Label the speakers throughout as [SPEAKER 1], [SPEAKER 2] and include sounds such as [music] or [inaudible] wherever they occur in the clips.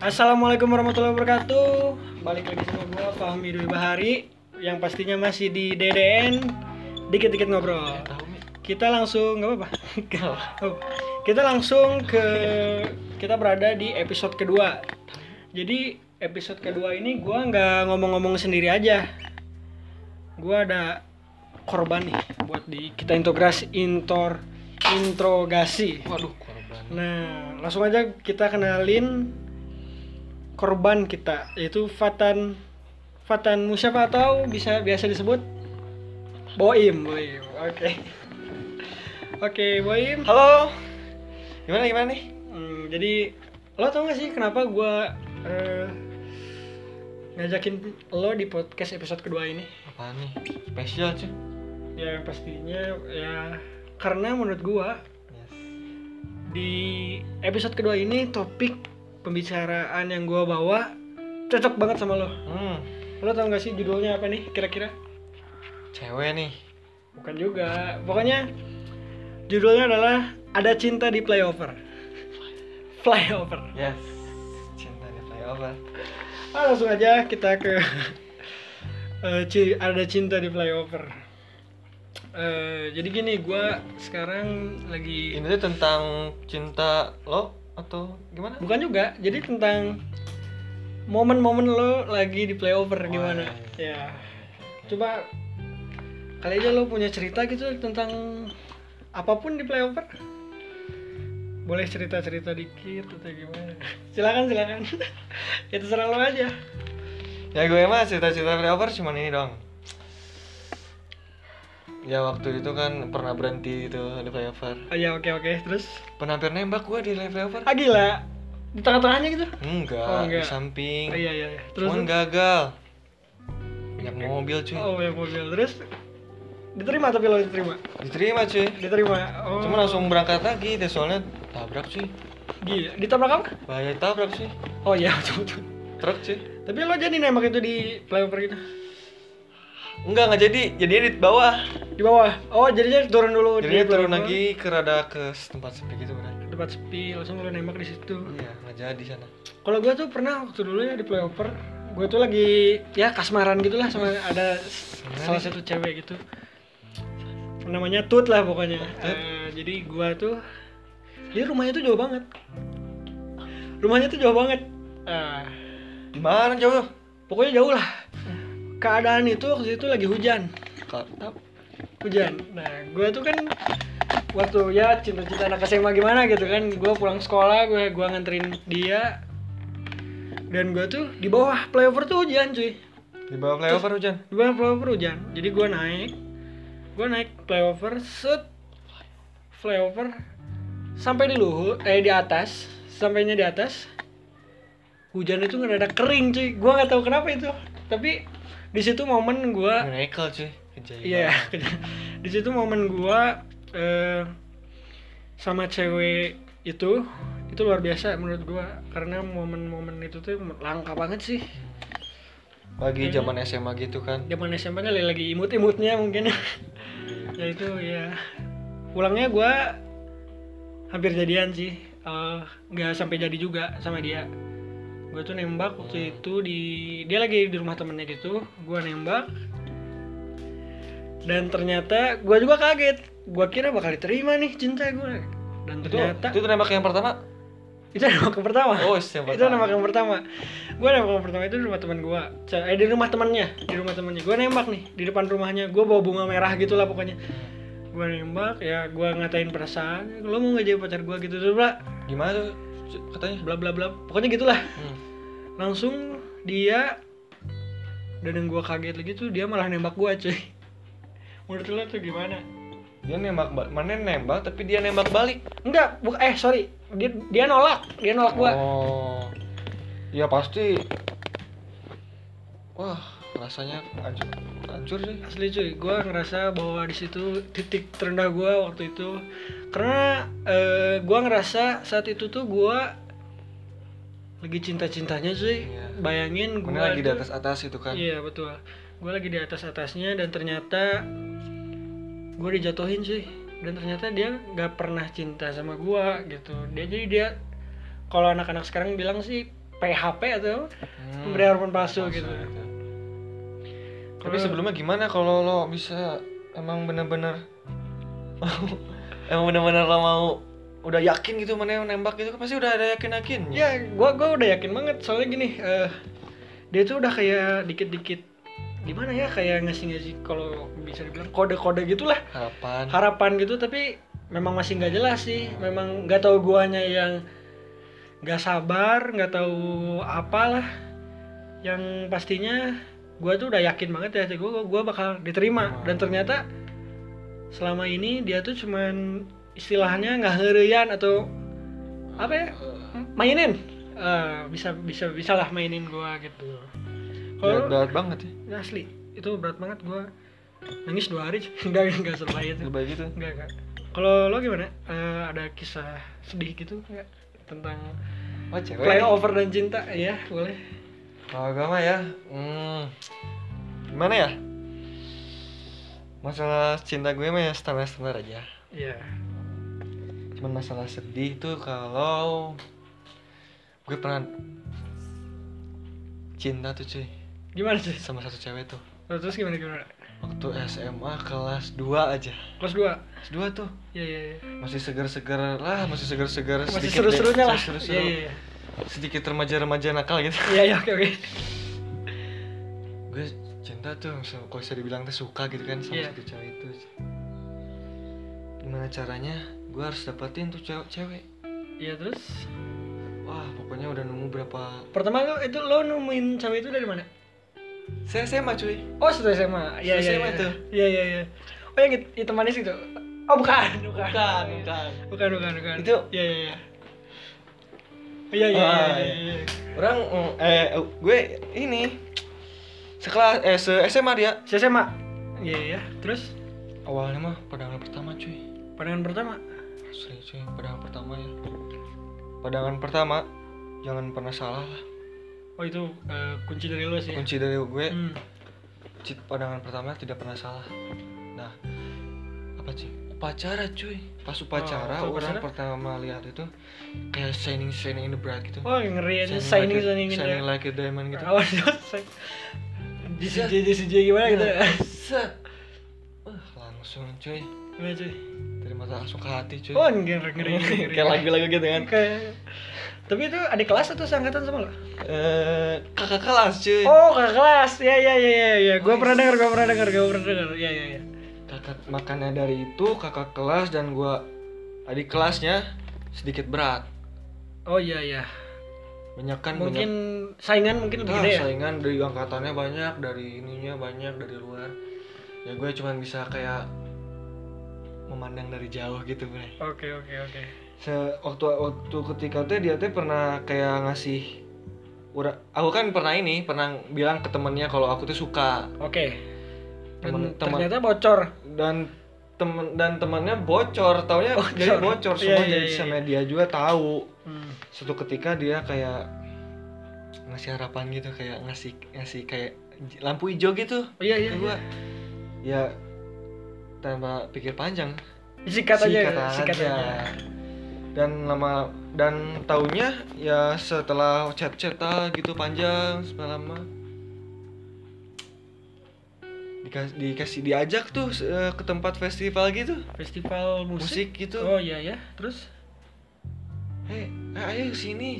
[SPEAKER 1] Assalamualaikum warahmatullahi wabarakatuh. Balik lagi sama gua Fahmi Dwi Bahari yang pastinya masih di DDN dikit-dikit ngobrol. Kita langsung nggak apa-apa. [laughs] Nggak apa-apa. kita langsung ke kita berada di episode kedua. Jadi episode kedua ini gua nggak ngomong-ngomong sendiri aja. Gua ada korban nih buat di kita integrasi intor introgasi.
[SPEAKER 2] Waduh, korban.
[SPEAKER 1] Nah, langsung aja kita kenalin korban kita yaitu Fatan Fatan Musyafa atau bisa biasa disebut Boim, Boim. Oke. Oke, Boim.
[SPEAKER 2] Halo. Gimana gimana nih?
[SPEAKER 1] Hmm, jadi lo tau gak sih kenapa gua eh, ngajakin lo di podcast episode kedua ini?
[SPEAKER 2] Apaan nih? Spesial cuy.
[SPEAKER 1] Ya yang pastinya ya karena menurut gua
[SPEAKER 2] Yes.
[SPEAKER 1] di episode kedua ini topik pembicaraan yang gua bawa cocok banget sama lo.
[SPEAKER 2] Hmm.
[SPEAKER 1] Lo tau gak sih judulnya apa nih kira-kira?
[SPEAKER 2] Cewek nih.
[SPEAKER 1] Bukan juga. Pokoknya judulnya adalah Ada Cinta di Flyover. Flyover.
[SPEAKER 2] Yes. Cinta di flyover.
[SPEAKER 1] Ah, langsung aja kita ke [laughs] eh, ci- Ada Cinta di Flyover. Eh, jadi gini, gua sekarang lagi
[SPEAKER 2] Ini tuh tentang cinta lo atau gimana?
[SPEAKER 1] bukan juga. Jadi tentang momen-momen lo lagi di flyover gimana?
[SPEAKER 2] Wah. iya,
[SPEAKER 1] Ya. Coba kali aja lo punya cerita gitu tentang apapun di flyover boleh cerita cerita dikit atau gimana silakan silakan [laughs] ya terserah lo aja
[SPEAKER 2] Ya gue mah cerita-cerita flyover cuman ini dong. Ya waktu itu kan pernah berhenti itu di flyover.
[SPEAKER 1] oh, ya oke oke terus
[SPEAKER 2] Pernah hampir nembak gue di flyover?
[SPEAKER 1] ah gila di tengah tengahnya gitu
[SPEAKER 2] Enggak,
[SPEAKER 1] Oh, enggak.
[SPEAKER 2] di samping.
[SPEAKER 1] oh, iya iya iya. terus
[SPEAKER 2] Cuman gagal. Minyak mobil cuy.
[SPEAKER 1] oh ya mobil terus diterima tapi lo diterima
[SPEAKER 2] Diterima cuy.
[SPEAKER 1] diterima oh
[SPEAKER 2] Cuma langsung berangkat lagi deh soalnya tabrak cuy.
[SPEAKER 1] gila ditabrak apa
[SPEAKER 2] Bahaya tabrak cuy.
[SPEAKER 1] oh iya [laughs] betul betul
[SPEAKER 2] Truk cuy.
[SPEAKER 1] tapi lo jadi nembak itu di flyover gitu
[SPEAKER 2] Enggak nggak jadi. Jadinya di bawah.
[SPEAKER 1] di bawah oh jadinya turun dulu di
[SPEAKER 2] Jadinya turun
[SPEAKER 1] flyover.
[SPEAKER 2] lagi ke rada ke tempat sepi gitu benar.
[SPEAKER 1] Ke tempat sepi langsung lo nembak di situ
[SPEAKER 2] Iya nggak jadi sana.
[SPEAKER 1] Kalau gue tuh pernah waktu dulu ya di playover, gue tuh lagi ya kasmaran gitulah sama ada s- salah
[SPEAKER 2] ya?
[SPEAKER 1] satu cewek gitu. Namanya Tut lah pokoknya. Eh, jadi gue tuh dia rumahnya tuh jauh banget. Rumahnya tuh jauh banget. Eh,
[SPEAKER 2] Di mana jauh?
[SPEAKER 1] pokoknya jauh lah. Keadaan itu waktu itu lagi hujan.
[SPEAKER 2] Katap.
[SPEAKER 1] Hujan. Nah, gue tuh kan waktu ya cinta-cinta anak SMA gimana gitu kan gue pulang sekolah gue gua nganterin dia dan gue tuh di bawah flyover tuh hujan cuy
[SPEAKER 2] Di bawah flyover hujan.
[SPEAKER 1] di bawah flyover hujan jadi gue naik gue naik flyover set flyover sampai di luhur eh di atas sampainya di atas hujan itu ngerada kering cuy gue nggak tahu kenapa itu tapi di situ momen gue
[SPEAKER 2] Miracle cuy. Kejayaan.
[SPEAKER 1] Ah. Iya, [laughs] di situ momen gua eh, sama cewek itu itu luar biasa menurut gua karena momen-momen itu tuh langka banget sih.
[SPEAKER 2] Lagi
[SPEAKER 1] Iya.
[SPEAKER 2] zaman SMA gitu kan.
[SPEAKER 1] Zaman SMP kali ya, lagi imut-imutnya
[SPEAKER 2] [laughs]
[SPEAKER 1] mungkin. ya itu ya. Pulangnya gua hampir jadian sih. Eh, nggak sampai jadi juga sama dia. Gue tuh nembak waktu itu di dia lagi di rumah temennya gitu. Gua nembak dan ternyata gua juga kaget. Gua kira bakal diterima nih cinta gue. Dan
[SPEAKER 2] Itu
[SPEAKER 1] ternyata
[SPEAKER 2] itu nembak yang pertama.
[SPEAKER 1] [laughs] itu nembak yang pertama
[SPEAKER 2] Oh, itu yang
[SPEAKER 1] itu
[SPEAKER 2] pertama.
[SPEAKER 1] nembak yang pertama gue nembak yang pertama itu di rumah teman gue eh di rumah temannya di rumah temannya gue nembak nih di depan rumahnya gue bawa bunga merah gitulah pokoknya gue nembak ya gue ngatain perasaan lo mau gak jadi pacar gue gitu terus bla
[SPEAKER 2] Gimana tuh cu- katanya?
[SPEAKER 1] bla bla bla pokoknya gitulah
[SPEAKER 2] Hmm.
[SPEAKER 1] langsung dia dan yang gue kaget lagi tuh dia malah nembak gue cuy menurut lo tuh gimana
[SPEAKER 2] Dia nembak ba- mana nembak tapi dia nembak balik.
[SPEAKER 1] enggak bu eh sorry dia dia nolak dia nolak gue
[SPEAKER 2] Oh. Ya pasti. Wah, rasanya hancur. Hancur sih.
[SPEAKER 1] asli cuy gue ngerasa bahwa di situ titik terendah gue waktu itu karena gue ngerasa saat itu tuh gue lagi cinta cintanya cuy
[SPEAKER 2] Iya.
[SPEAKER 1] bayangin gue
[SPEAKER 2] Mana lagi di atas atas itu kan.
[SPEAKER 1] iya betul gue lagi di atas atasnya dan ternyata gue dijatuhin cuy dan ternyata dia nggak pernah cinta sama gue gitu dia jadi dia kalau anak-anak sekarang bilang sih PHP atau apa?
[SPEAKER 2] Hmm,
[SPEAKER 1] pemberian hormon palsu gitu.
[SPEAKER 2] Tapi
[SPEAKER 1] Kalau-
[SPEAKER 2] sebelumnya gimana kalau lo bisa emang bener-bener [laughs] emang bener-bener lo mau udah yakin gitu mana yang nembak gitu kan pasti udah ada yakin-yakin.
[SPEAKER 1] Ya, gua gua udah yakin banget soalnya gini, eh, dia tuh udah kayak dikit-dikit gimana ya kayak ngasih ngasih kalau bisa dibilang kode-kode gitulah
[SPEAKER 2] Harapan.
[SPEAKER 1] harapan gitu tapi memang masih nggak jelas sih memang nggak tahu guanya yang nggak sabar nggak tahu apalah yang pastinya gua tuh udah yakin banget ya gua gua bakal diterima dan ternyata selama ini dia tuh cuman istilahnya nggak hereyan atau apa ya mainin Eh, bisa bisa bisalah mainin gua gitu
[SPEAKER 2] Berat,
[SPEAKER 1] kalau
[SPEAKER 2] berat banget ya.
[SPEAKER 1] asli itu berat banget gua nangis dua hari [laughs] nggak nggak selesai itu
[SPEAKER 2] Lebay gitu.
[SPEAKER 1] Enggak, enggak. Kalau lo gimana? Eh, ada kisah sedih gitu enggak tentang
[SPEAKER 2] Oh, cewek.
[SPEAKER 1] flyover dan cinta? Ya, boleh.
[SPEAKER 2] Kalau agama ya, hmm, gimana ya? Masalah cinta gue mah ya standar-standar aja.
[SPEAKER 1] Iya.
[SPEAKER 2] Cuman masalah sedih tuh kalau gue pernah cinta tuh cuy
[SPEAKER 1] Gimana sih?
[SPEAKER 2] sama satu cewek tuh
[SPEAKER 1] Lo Terus gimana gimana?
[SPEAKER 2] waktu SMA kelas 2 aja
[SPEAKER 1] Kelas 2.
[SPEAKER 2] kelas 2 tuh
[SPEAKER 1] Iya, iya, iya.
[SPEAKER 2] masih segar-segar lah masih segar-segar
[SPEAKER 1] Masih
[SPEAKER 2] sedikit
[SPEAKER 1] seru-serunya lah.
[SPEAKER 2] seru
[SPEAKER 1] Iya, iya, iya.
[SPEAKER 2] sedikit remaja-remaja nakal gitu
[SPEAKER 1] Iya, iya, oke, oke.
[SPEAKER 2] gue cinta tuh sama- kalau bisa dibilang tuh suka gitu kan sama
[SPEAKER 1] Iya.
[SPEAKER 2] satu cewek itu gimana caranya gue harus dapetin tuh cewek cewek
[SPEAKER 1] Iya, terus
[SPEAKER 2] wah pokoknya udah nunggu berapa
[SPEAKER 1] pertama lo itu lo nemuin cewek itu dari mana?
[SPEAKER 2] saya saya mah cuy
[SPEAKER 1] Oh, setelah SMA.
[SPEAKER 2] Setelah
[SPEAKER 1] Iya, iya,
[SPEAKER 2] SMA
[SPEAKER 1] iya.
[SPEAKER 2] tuh.
[SPEAKER 1] Iya, iya, iya. Oh, yang hit- hitam manis itu. Oh, bukan, [laughs] bukan.
[SPEAKER 2] bukan bukan
[SPEAKER 1] Bukan, bukan, bukan.
[SPEAKER 2] Itu-
[SPEAKER 1] iya, iya, iya. Iya, iya,
[SPEAKER 2] Ah,
[SPEAKER 1] iya, iya, iya.
[SPEAKER 2] orang mm, eh gue ini sekelas eh se SMA dia
[SPEAKER 1] Si SMA. Iya, iya. Terus
[SPEAKER 2] awalnya mah pandangan pertama cuy
[SPEAKER 1] pandangan pertama
[SPEAKER 2] asli cuy pandangan pertama ya pandangan pertama jangan pernah salah lah
[SPEAKER 1] oh itu eh, kunci dari lo sih ya?
[SPEAKER 2] kunci dari gue
[SPEAKER 1] hmm.
[SPEAKER 2] Cit pandangan pertama tidak pernah salah. Nah, apa sih? Upacara cuy. Pas upacara
[SPEAKER 1] Oh,
[SPEAKER 2] orang
[SPEAKER 1] upacara?
[SPEAKER 2] pertama lihat itu kayak shining shining in the bright gitu.
[SPEAKER 1] oh ngeri aja signing
[SPEAKER 2] like a-
[SPEAKER 1] signing gitu
[SPEAKER 2] shining like a diamond gitu.
[SPEAKER 1] oh [laughs] DCJ DCJ gimana gitu [laughs]
[SPEAKER 2] Nah, set. Wah, langsung cuy.
[SPEAKER 1] gimana Iya, cuy
[SPEAKER 2] Dari mata langsung ke hati cuy.
[SPEAKER 1] oh ngeri ngeri ngeri, ngeri.
[SPEAKER 2] Hmm, kayak lagu-lagu gitu kan.
[SPEAKER 1] Kayak- tapi itu adik kelas atau seangkatan sama lo
[SPEAKER 2] Eh, kakak kelas cuy.
[SPEAKER 1] oh kakak kelas ya ya ya ya ya gue
[SPEAKER 2] Nice.
[SPEAKER 1] pernah dengar gue pernah dengar gue pernah dengar ya ya ya
[SPEAKER 2] Kakak makanya dari itu kakak kelas dan gua adik kelasnya sedikit berat.
[SPEAKER 1] oh iya iya
[SPEAKER 2] Banyak kan banyak-
[SPEAKER 1] mungkin saingan mungkin lebih
[SPEAKER 2] Nah,
[SPEAKER 1] gede ya
[SPEAKER 2] saingan dari angkatannya banyak, dari ininya banyak, dari luar. Ya gue cuman bisa kayak memandang dari jauh gitu, Bre.
[SPEAKER 1] oke oke oke
[SPEAKER 2] Se- waktu waktu ketika teh dia teh pernah kayak ngasih ura- aku kan pernah ini, pernah bilang ke temennya kalau aku tuh suka
[SPEAKER 1] oke
[SPEAKER 2] Teman-
[SPEAKER 1] dan
[SPEAKER 2] teman-
[SPEAKER 1] ternyata bocor
[SPEAKER 2] dan temen dan temannya bocor, taunya jadi Oh, bocor
[SPEAKER 1] Iya,
[SPEAKER 2] semua
[SPEAKER 1] iya,
[SPEAKER 2] jadi
[SPEAKER 1] iya,
[SPEAKER 2] sama dia juga tahu.
[SPEAKER 1] hmm.
[SPEAKER 2] suatu ketika dia kayak ngasih harapan gitu kayak ngasih ngasih kayak j- lampu hijau gitu
[SPEAKER 1] Oh, iya iya,
[SPEAKER 2] Ke
[SPEAKER 1] iya.
[SPEAKER 2] gua ya tanpa pikir panjang
[SPEAKER 1] sikat aja
[SPEAKER 2] sikat aja. dan lama dan taunya ya setelah chat chatan gitu panjang setelah lama Dikas- dikasih diajak tuh eh, ke tempat festival gitu
[SPEAKER 1] festival
[SPEAKER 2] musik
[SPEAKER 1] musik,
[SPEAKER 2] gitu
[SPEAKER 1] oh iya ya terus
[SPEAKER 2] Hei, ah, ayo sini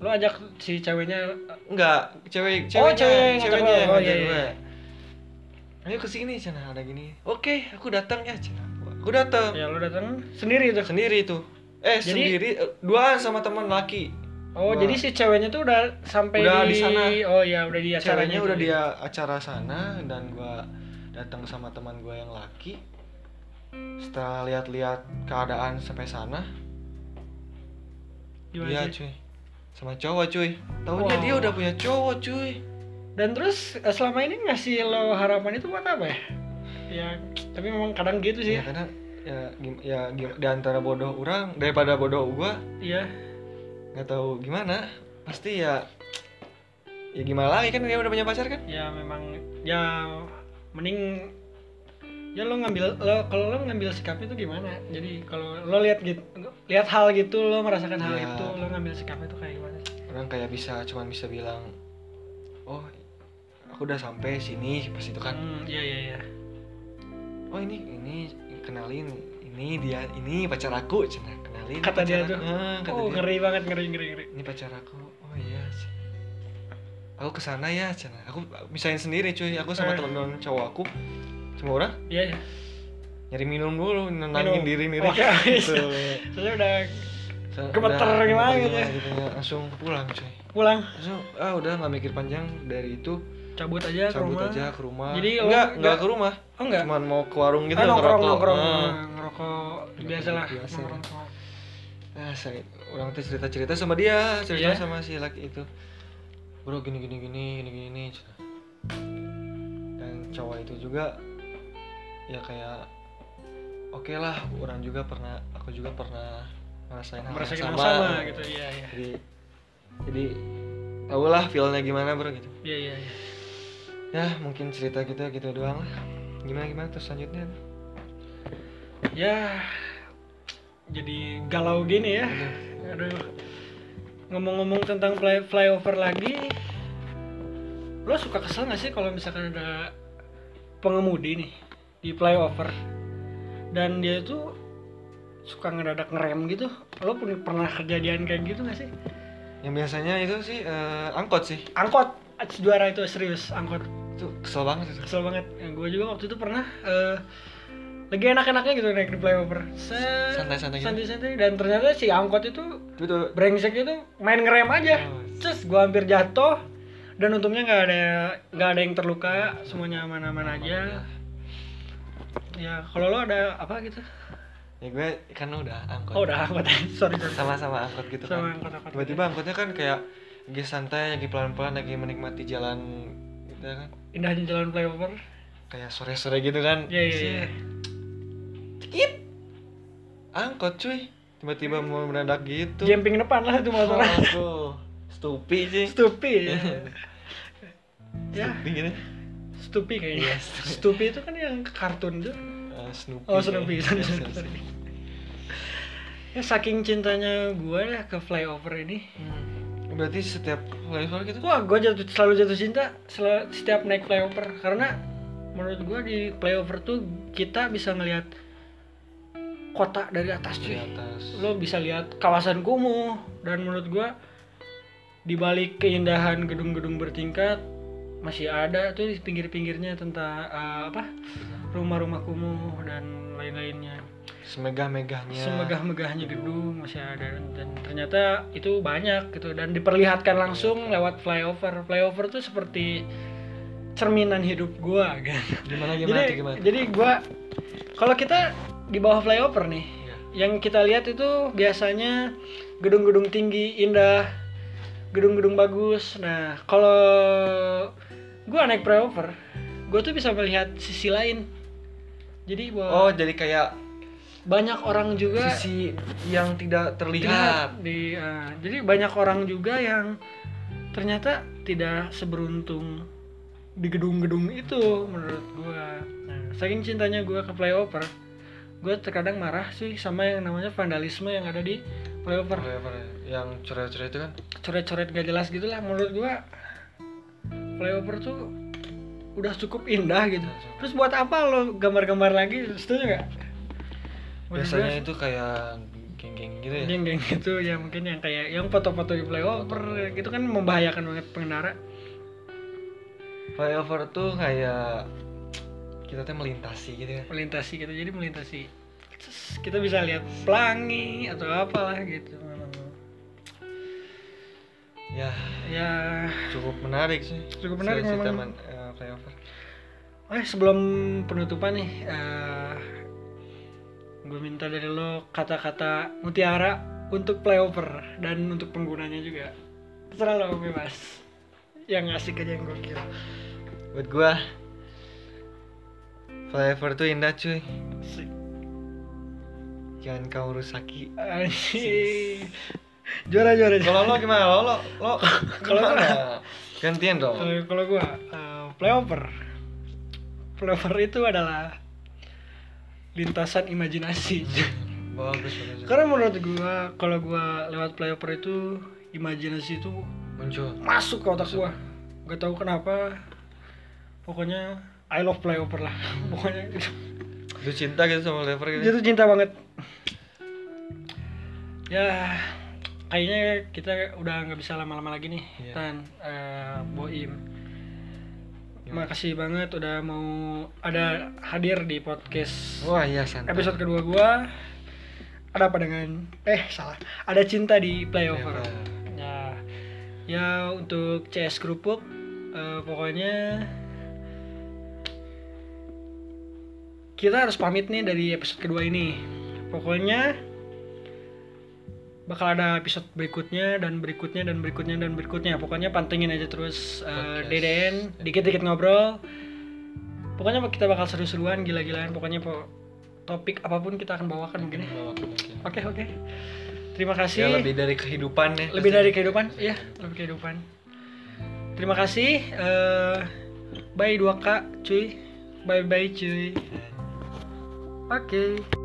[SPEAKER 1] lo ajak si ceweknya
[SPEAKER 2] Enggak, cewek
[SPEAKER 1] Oh,
[SPEAKER 2] ceweknya,
[SPEAKER 1] cewek yang ngajak
[SPEAKER 2] ceweknya
[SPEAKER 1] lo.
[SPEAKER 2] yang
[SPEAKER 1] Oh,
[SPEAKER 2] ngajak
[SPEAKER 1] iya,
[SPEAKER 2] gue. Ayo ke sini Cina, ada gini. Oke, aku datang ya Cina. Aku datang
[SPEAKER 1] ya lo datang sendiri tuh
[SPEAKER 2] sendiri tuh. Eh,
[SPEAKER 1] Jadi-
[SPEAKER 2] sendiri eh, duaan sama teman laki.
[SPEAKER 1] oh
[SPEAKER 2] Wah.
[SPEAKER 1] jadi si ceweknya tuh udah sampai
[SPEAKER 2] Udah di sana.
[SPEAKER 1] oh iya udah di acaranya
[SPEAKER 2] Ceweknya
[SPEAKER 1] itu
[SPEAKER 2] udah
[SPEAKER 1] ya.
[SPEAKER 2] dia acara sana dan gua datang sama teman gua yang laki. Setelah lihat-lihat keadaan sampai sana, dia
[SPEAKER 1] Gimana sih?
[SPEAKER 2] cuy sama cowok cuy. Tahunya
[SPEAKER 1] Wow.
[SPEAKER 2] dia udah punya cowok cuy.
[SPEAKER 1] dan terus eh, selama ini ngasih lo harapan itu buat apa ya ya tapi memang kadang gitu sih
[SPEAKER 2] Ya karena ya gim- ya gim- di antara bodoh orang daripada bodoh gua
[SPEAKER 1] iya
[SPEAKER 2] nggak tahu gimana pasti ya ya gimana lagi kan dia udah punya pacar kan
[SPEAKER 1] ya memang ya mending ya lo ngambil lo kalau lo ngambil sikapnya itu gimana jadi kalau lo lihat gitu lihat hal gitu lo merasakan hal
[SPEAKER 2] Ya.
[SPEAKER 1] itu lo ngambil sikapnya itu kayak gimana sih?
[SPEAKER 2] orang kayak bisa cuman bisa bilang oh aku udah sampai sini pas itu kan
[SPEAKER 1] Hmm, iya iya iya.
[SPEAKER 2] oh ini ini kenalin ini dia ini pacar aku cina kenalin
[SPEAKER 1] Kata dia
[SPEAKER 2] pacar
[SPEAKER 1] tuh.
[SPEAKER 2] aku." Eh, kata
[SPEAKER 1] Oh,
[SPEAKER 2] dia.
[SPEAKER 1] ngeri banget, ngeri ngeri ngeri.
[SPEAKER 2] ini pacar aku oh iya cina. aku kesana ya cina aku misalnya sendiri cuy aku sama
[SPEAKER 1] Eh.
[SPEAKER 2] teman-teman cowok aku semua orang
[SPEAKER 1] Iya iya.
[SPEAKER 2] nyari minum dulu nenangin
[SPEAKER 1] Minum. Oh, iya,
[SPEAKER 2] diri diri
[SPEAKER 1] Oke,
[SPEAKER 2] gitu.
[SPEAKER 1] Saya udah
[SPEAKER 2] Udah,
[SPEAKER 1] Gemeter gimana gitu ya.
[SPEAKER 2] gitu ya. langsung pulang cuy
[SPEAKER 1] pulang,
[SPEAKER 2] langsung ah udah nggak mikir panjang dari itu
[SPEAKER 1] cabut aja Iya, ke
[SPEAKER 2] cabut
[SPEAKER 1] rumah.
[SPEAKER 2] aja ke rumah
[SPEAKER 1] Jadi, oh,
[SPEAKER 2] enggak
[SPEAKER 1] enggak.
[SPEAKER 2] enggak ke rumah
[SPEAKER 1] Oh enggak.
[SPEAKER 2] cuman mau ke warung gitu
[SPEAKER 1] Ah, nongkrong
[SPEAKER 2] ngerokok.
[SPEAKER 1] nongkrong
[SPEAKER 2] Ah.
[SPEAKER 1] ngerokok biasalah.
[SPEAKER 2] Biasa.
[SPEAKER 1] Nongkrong, nongkrong.
[SPEAKER 2] Ah, saya orang tuh cerita cerita sama dia cerita
[SPEAKER 1] Iya.
[SPEAKER 2] sama si laki itu bro gini gini gini gini gini cerita. dan cowok itu juga ya kayak oke lah orang juga pernah aku juga pernah ngerasain hal
[SPEAKER 1] Merasakan
[SPEAKER 2] yang
[SPEAKER 1] yang
[SPEAKER 2] sama,
[SPEAKER 1] sama gitu. Iya iya.
[SPEAKER 2] jadi jadi tau lah feelnya gimana bro gitu
[SPEAKER 1] Iya iya iya.
[SPEAKER 2] ya mungkin cerita kita gitu doang lah gimana gimana terus selanjutnya
[SPEAKER 1] Ya jadi galau gini ya.
[SPEAKER 2] Aduh.
[SPEAKER 1] Aduh. Ngomong-ngomong tentang fly- flyover lagi, lo suka kesel gak sih kalau misalkan ada pengemudi nih di flyover dan dia itu suka ngedadak ngerem gitu? Lo pun pernah kejadian kayak gitu gak sih?
[SPEAKER 2] yang biasanya itu sih eh, angkot sih
[SPEAKER 1] Angkot Ats, juara itu serius angkot
[SPEAKER 2] itu kesel banget itu
[SPEAKER 1] kesel banget. gue juga waktu itu pernah eh, lagi enak-enaknya gitu naik di flyover. Set,
[SPEAKER 2] Santai-santai gitu.
[SPEAKER 1] Santai-santai dan ternyata si angkot itu
[SPEAKER 2] itu tuh
[SPEAKER 1] brengsek itu main ngerem aja
[SPEAKER 2] Oh.
[SPEAKER 1] terus gua hampir jatuh dan untungnya nggak ada nggak ada yang terluka semuanya aman-aman aja ya kalau lo ada apa gitu
[SPEAKER 2] ya gue kan udah angkot
[SPEAKER 1] oh udah angkot sorry sorry.
[SPEAKER 2] sama-sama angkot gitu
[SPEAKER 1] sama ya.
[SPEAKER 2] kan
[SPEAKER 1] angkot-angkot.
[SPEAKER 2] tiba-tiba angkotnya kan kayak lagi santai lagi pelan-pelan lagi menikmati jalan gitu kan
[SPEAKER 1] indahnya jalan flyover
[SPEAKER 2] kayak sore-sore gitu kan
[SPEAKER 1] ya ya ya
[SPEAKER 2] Cekip. angkot cuy tiba-tiba mau mendadak gitu Oh,
[SPEAKER 1] jumping depan lah Iya. itu motor [laughs]
[SPEAKER 2] Aduh, stupi sih [laughs]
[SPEAKER 1] stupi ya. ya
[SPEAKER 2] stupi gitu
[SPEAKER 1] stupi kayaknya
[SPEAKER 2] Yes.
[SPEAKER 1] stupi itu kan yang kartun tuh
[SPEAKER 2] Eh, Snoopy iya,
[SPEAKER 1] Oh, Snoopy.
[SPEAKER 2] Yes,
[SPEAKER 1] Sorry,
[SPEAKER 2] yes,
[SPEAKER 1] sorry,
[SPEAKER 2] yes.
[SPEAKER 1] sorry. ya saking cintanya gua ya ke flyover ini
[SPEAKER 2] Hmm. berarti setiap level gitu
[SPEAKER 1] Wah, gue jatuh, selalu jatuh cinta sel- setiap naik flyover karena menurut gue di flyover tuh kita bisa ngelihat kota dari atas
[SPEAKER 2] di
[SPEAKER 1] cuy.
[SPEAKER 2] atas
[SPEAKER 1] Lo bisa lihat kawasan kumuh dan menurut gue di balik keindahan gedung-gedung bertingkat masih ada tuh di pinggir-pinggirnya tentang eh, apa rumah-rumah kumuh dan lain-lainnya
[SPEAKER 2] semegah-megahnya
[SPEAKER 1] semegah-megahnya gedung masih ada dan ternyata itu banyak gitu dan diperlihatkan langsung lewat flyover flyover tuh seperti cerminan hidup gua gitu.
[SPEAKER 2] gimana gimana
[SPEAKER 1] jadi
[SPEAKER 2] tuh, gimana tuh?
[SPEAKER 1] jadi gua kalau kita di bawah flyover nih
[SPEAKER 2] Iya.
[SPEAKER 1] yang kita lihat itu biasanya gedung-gedung tinggi indah gedung-gedung bagus nah kalau gua naik flyover gua tuh bisa melihat sisi lain jadi bahwa
[SPEAKER 2] oh jadi kayak
[SPEAKER 1] banyak orang juga
[SPEAKER 2] sisi yang tidak terlihat
[SPEAKER 1] Lihat Iya, di eh, jadi banyak orang juga yang ternyata tidak seberuntung di gedung-gedung itu menurut gua. Nah, saking cintanya gua ke flyover, gua terkadang marah sih sama yang namanya vandalisme yang ada di flyover.
[SPEAKER 2] Flyover yang coret-coret itu kan
[SPEAKER 1] Coret-coret gak jelas gitulah menurut gua. Flyover tuh udah cukup indah gitu. Terus buat apa lo gambar-gambar lagi? Setuju nggak? Menurut gua
[SPEAKER 2] biasanya itu kayak geng-geng gitu ya
[SPEAKER 1] yang kayak gitu ya mungkin yang kayak yang foto-foto di flyover gitu kan membahayakan banget pengendara
[SPEAKER 2] flyover tuh kayak kita tuh melintasi gitu ya
[SPEAKER 1] melintasi gitu jadi melintasi Terus kita bisa lihat pelangi atau apalah gitu memang
[SPEAKER 2] ya
[SPEAKER 1] ya
[SPEAKER 2] cukup menarik sih
[SPEAKER 1] Cukup menarik
[SPEAKER 2] cerita
[SPEAKER 1] memang.
[SPEAKER 2] man- eh, flyover
[SPEAKER 1] eh sebelum penutupan nih gue minta dari lo kata-kata mutiara untuk flyover dan untuk penggunanya juga terserah lo bebas yang asik aja yang gokil
[SPEAKER 2] buat gua flyover tuh indah cuy
[SPEAKER 1] Asik.
[SPEAKER 2] jangan kau rusaki
[SPEAKER 1] Anjing. juara juara juara.
[SPEAKER 2] kalau lo gimana lo lo [laughs] lo
[SPEAKER 1] Kalau
[SPEAKER 2] gimana? gantian dong
[SPEAKER 1] Kalau kalau gua eh, flyover. Flyover itu adalah lintasan imajinasi. [laughs]
[SPEAKER 2] bagus bagus
[SPEAKER 1] Karena menurut gua kalau gua lewat flyover itu imajinasi itu
[SPEAKER 2] muncul
[SPEAKER 1] masuk ke otak gua gak tahu kenapa pokoknya I love flyover lah [laughs] pokoknya gitu.
[SPEAKER 2] lu cinta gitu sama Lever gitu
[SPEAKER 1] jatuh cinta banget ya kayaknya kita udah nggak bisa lama-lama lagi nih
[SPEAKER 2] Iya.
[SPEAKER 1] Tan eh, Boim
[SPEAKER 2] Iya.
[SPEAKER 1] makasih banget udah mau ada hadir di podcast
[SPEAKER 2] wah iya santai
[SPEAKER 1] episode kedua gua ada apa dengan eh salah ada cinta
[SPEAKER 2] Iya,
[SPEAKER 1] di playover
[SPEAKER 2] Flyover.
[SPEAKER 1] ya ya untuk CS kerupuk eh, pokoknya kita harus pamit nih dari episode kedua ini pokoknya bakal ada episode berikutnya dan berikutnya dan berikutnya dan berikutnya pokoknya pantengin aja terus eh,
[SPEAKER 2] Podcast.
[SPEAKER 1] DDN dikit-dikit ngobrol pokoknya kita bakal seru-seruan gila-gilaan pokoknya po- topik apapun kita akan bawakan mungkin ya.
[SPEAKER 2] Bawa ke mungkin.
[SPEAKER 1] oke oke terima kasih
[SPEAKER 2] ya lebih dari kehidupan ya
[SPEAKER 1] lebih
[SPEAKER 2] pasti.
[SPEAKER 1] dari kehidupan iya lebih kehidupan terima kasih eh bye 2 k cuy bye bye cuy oke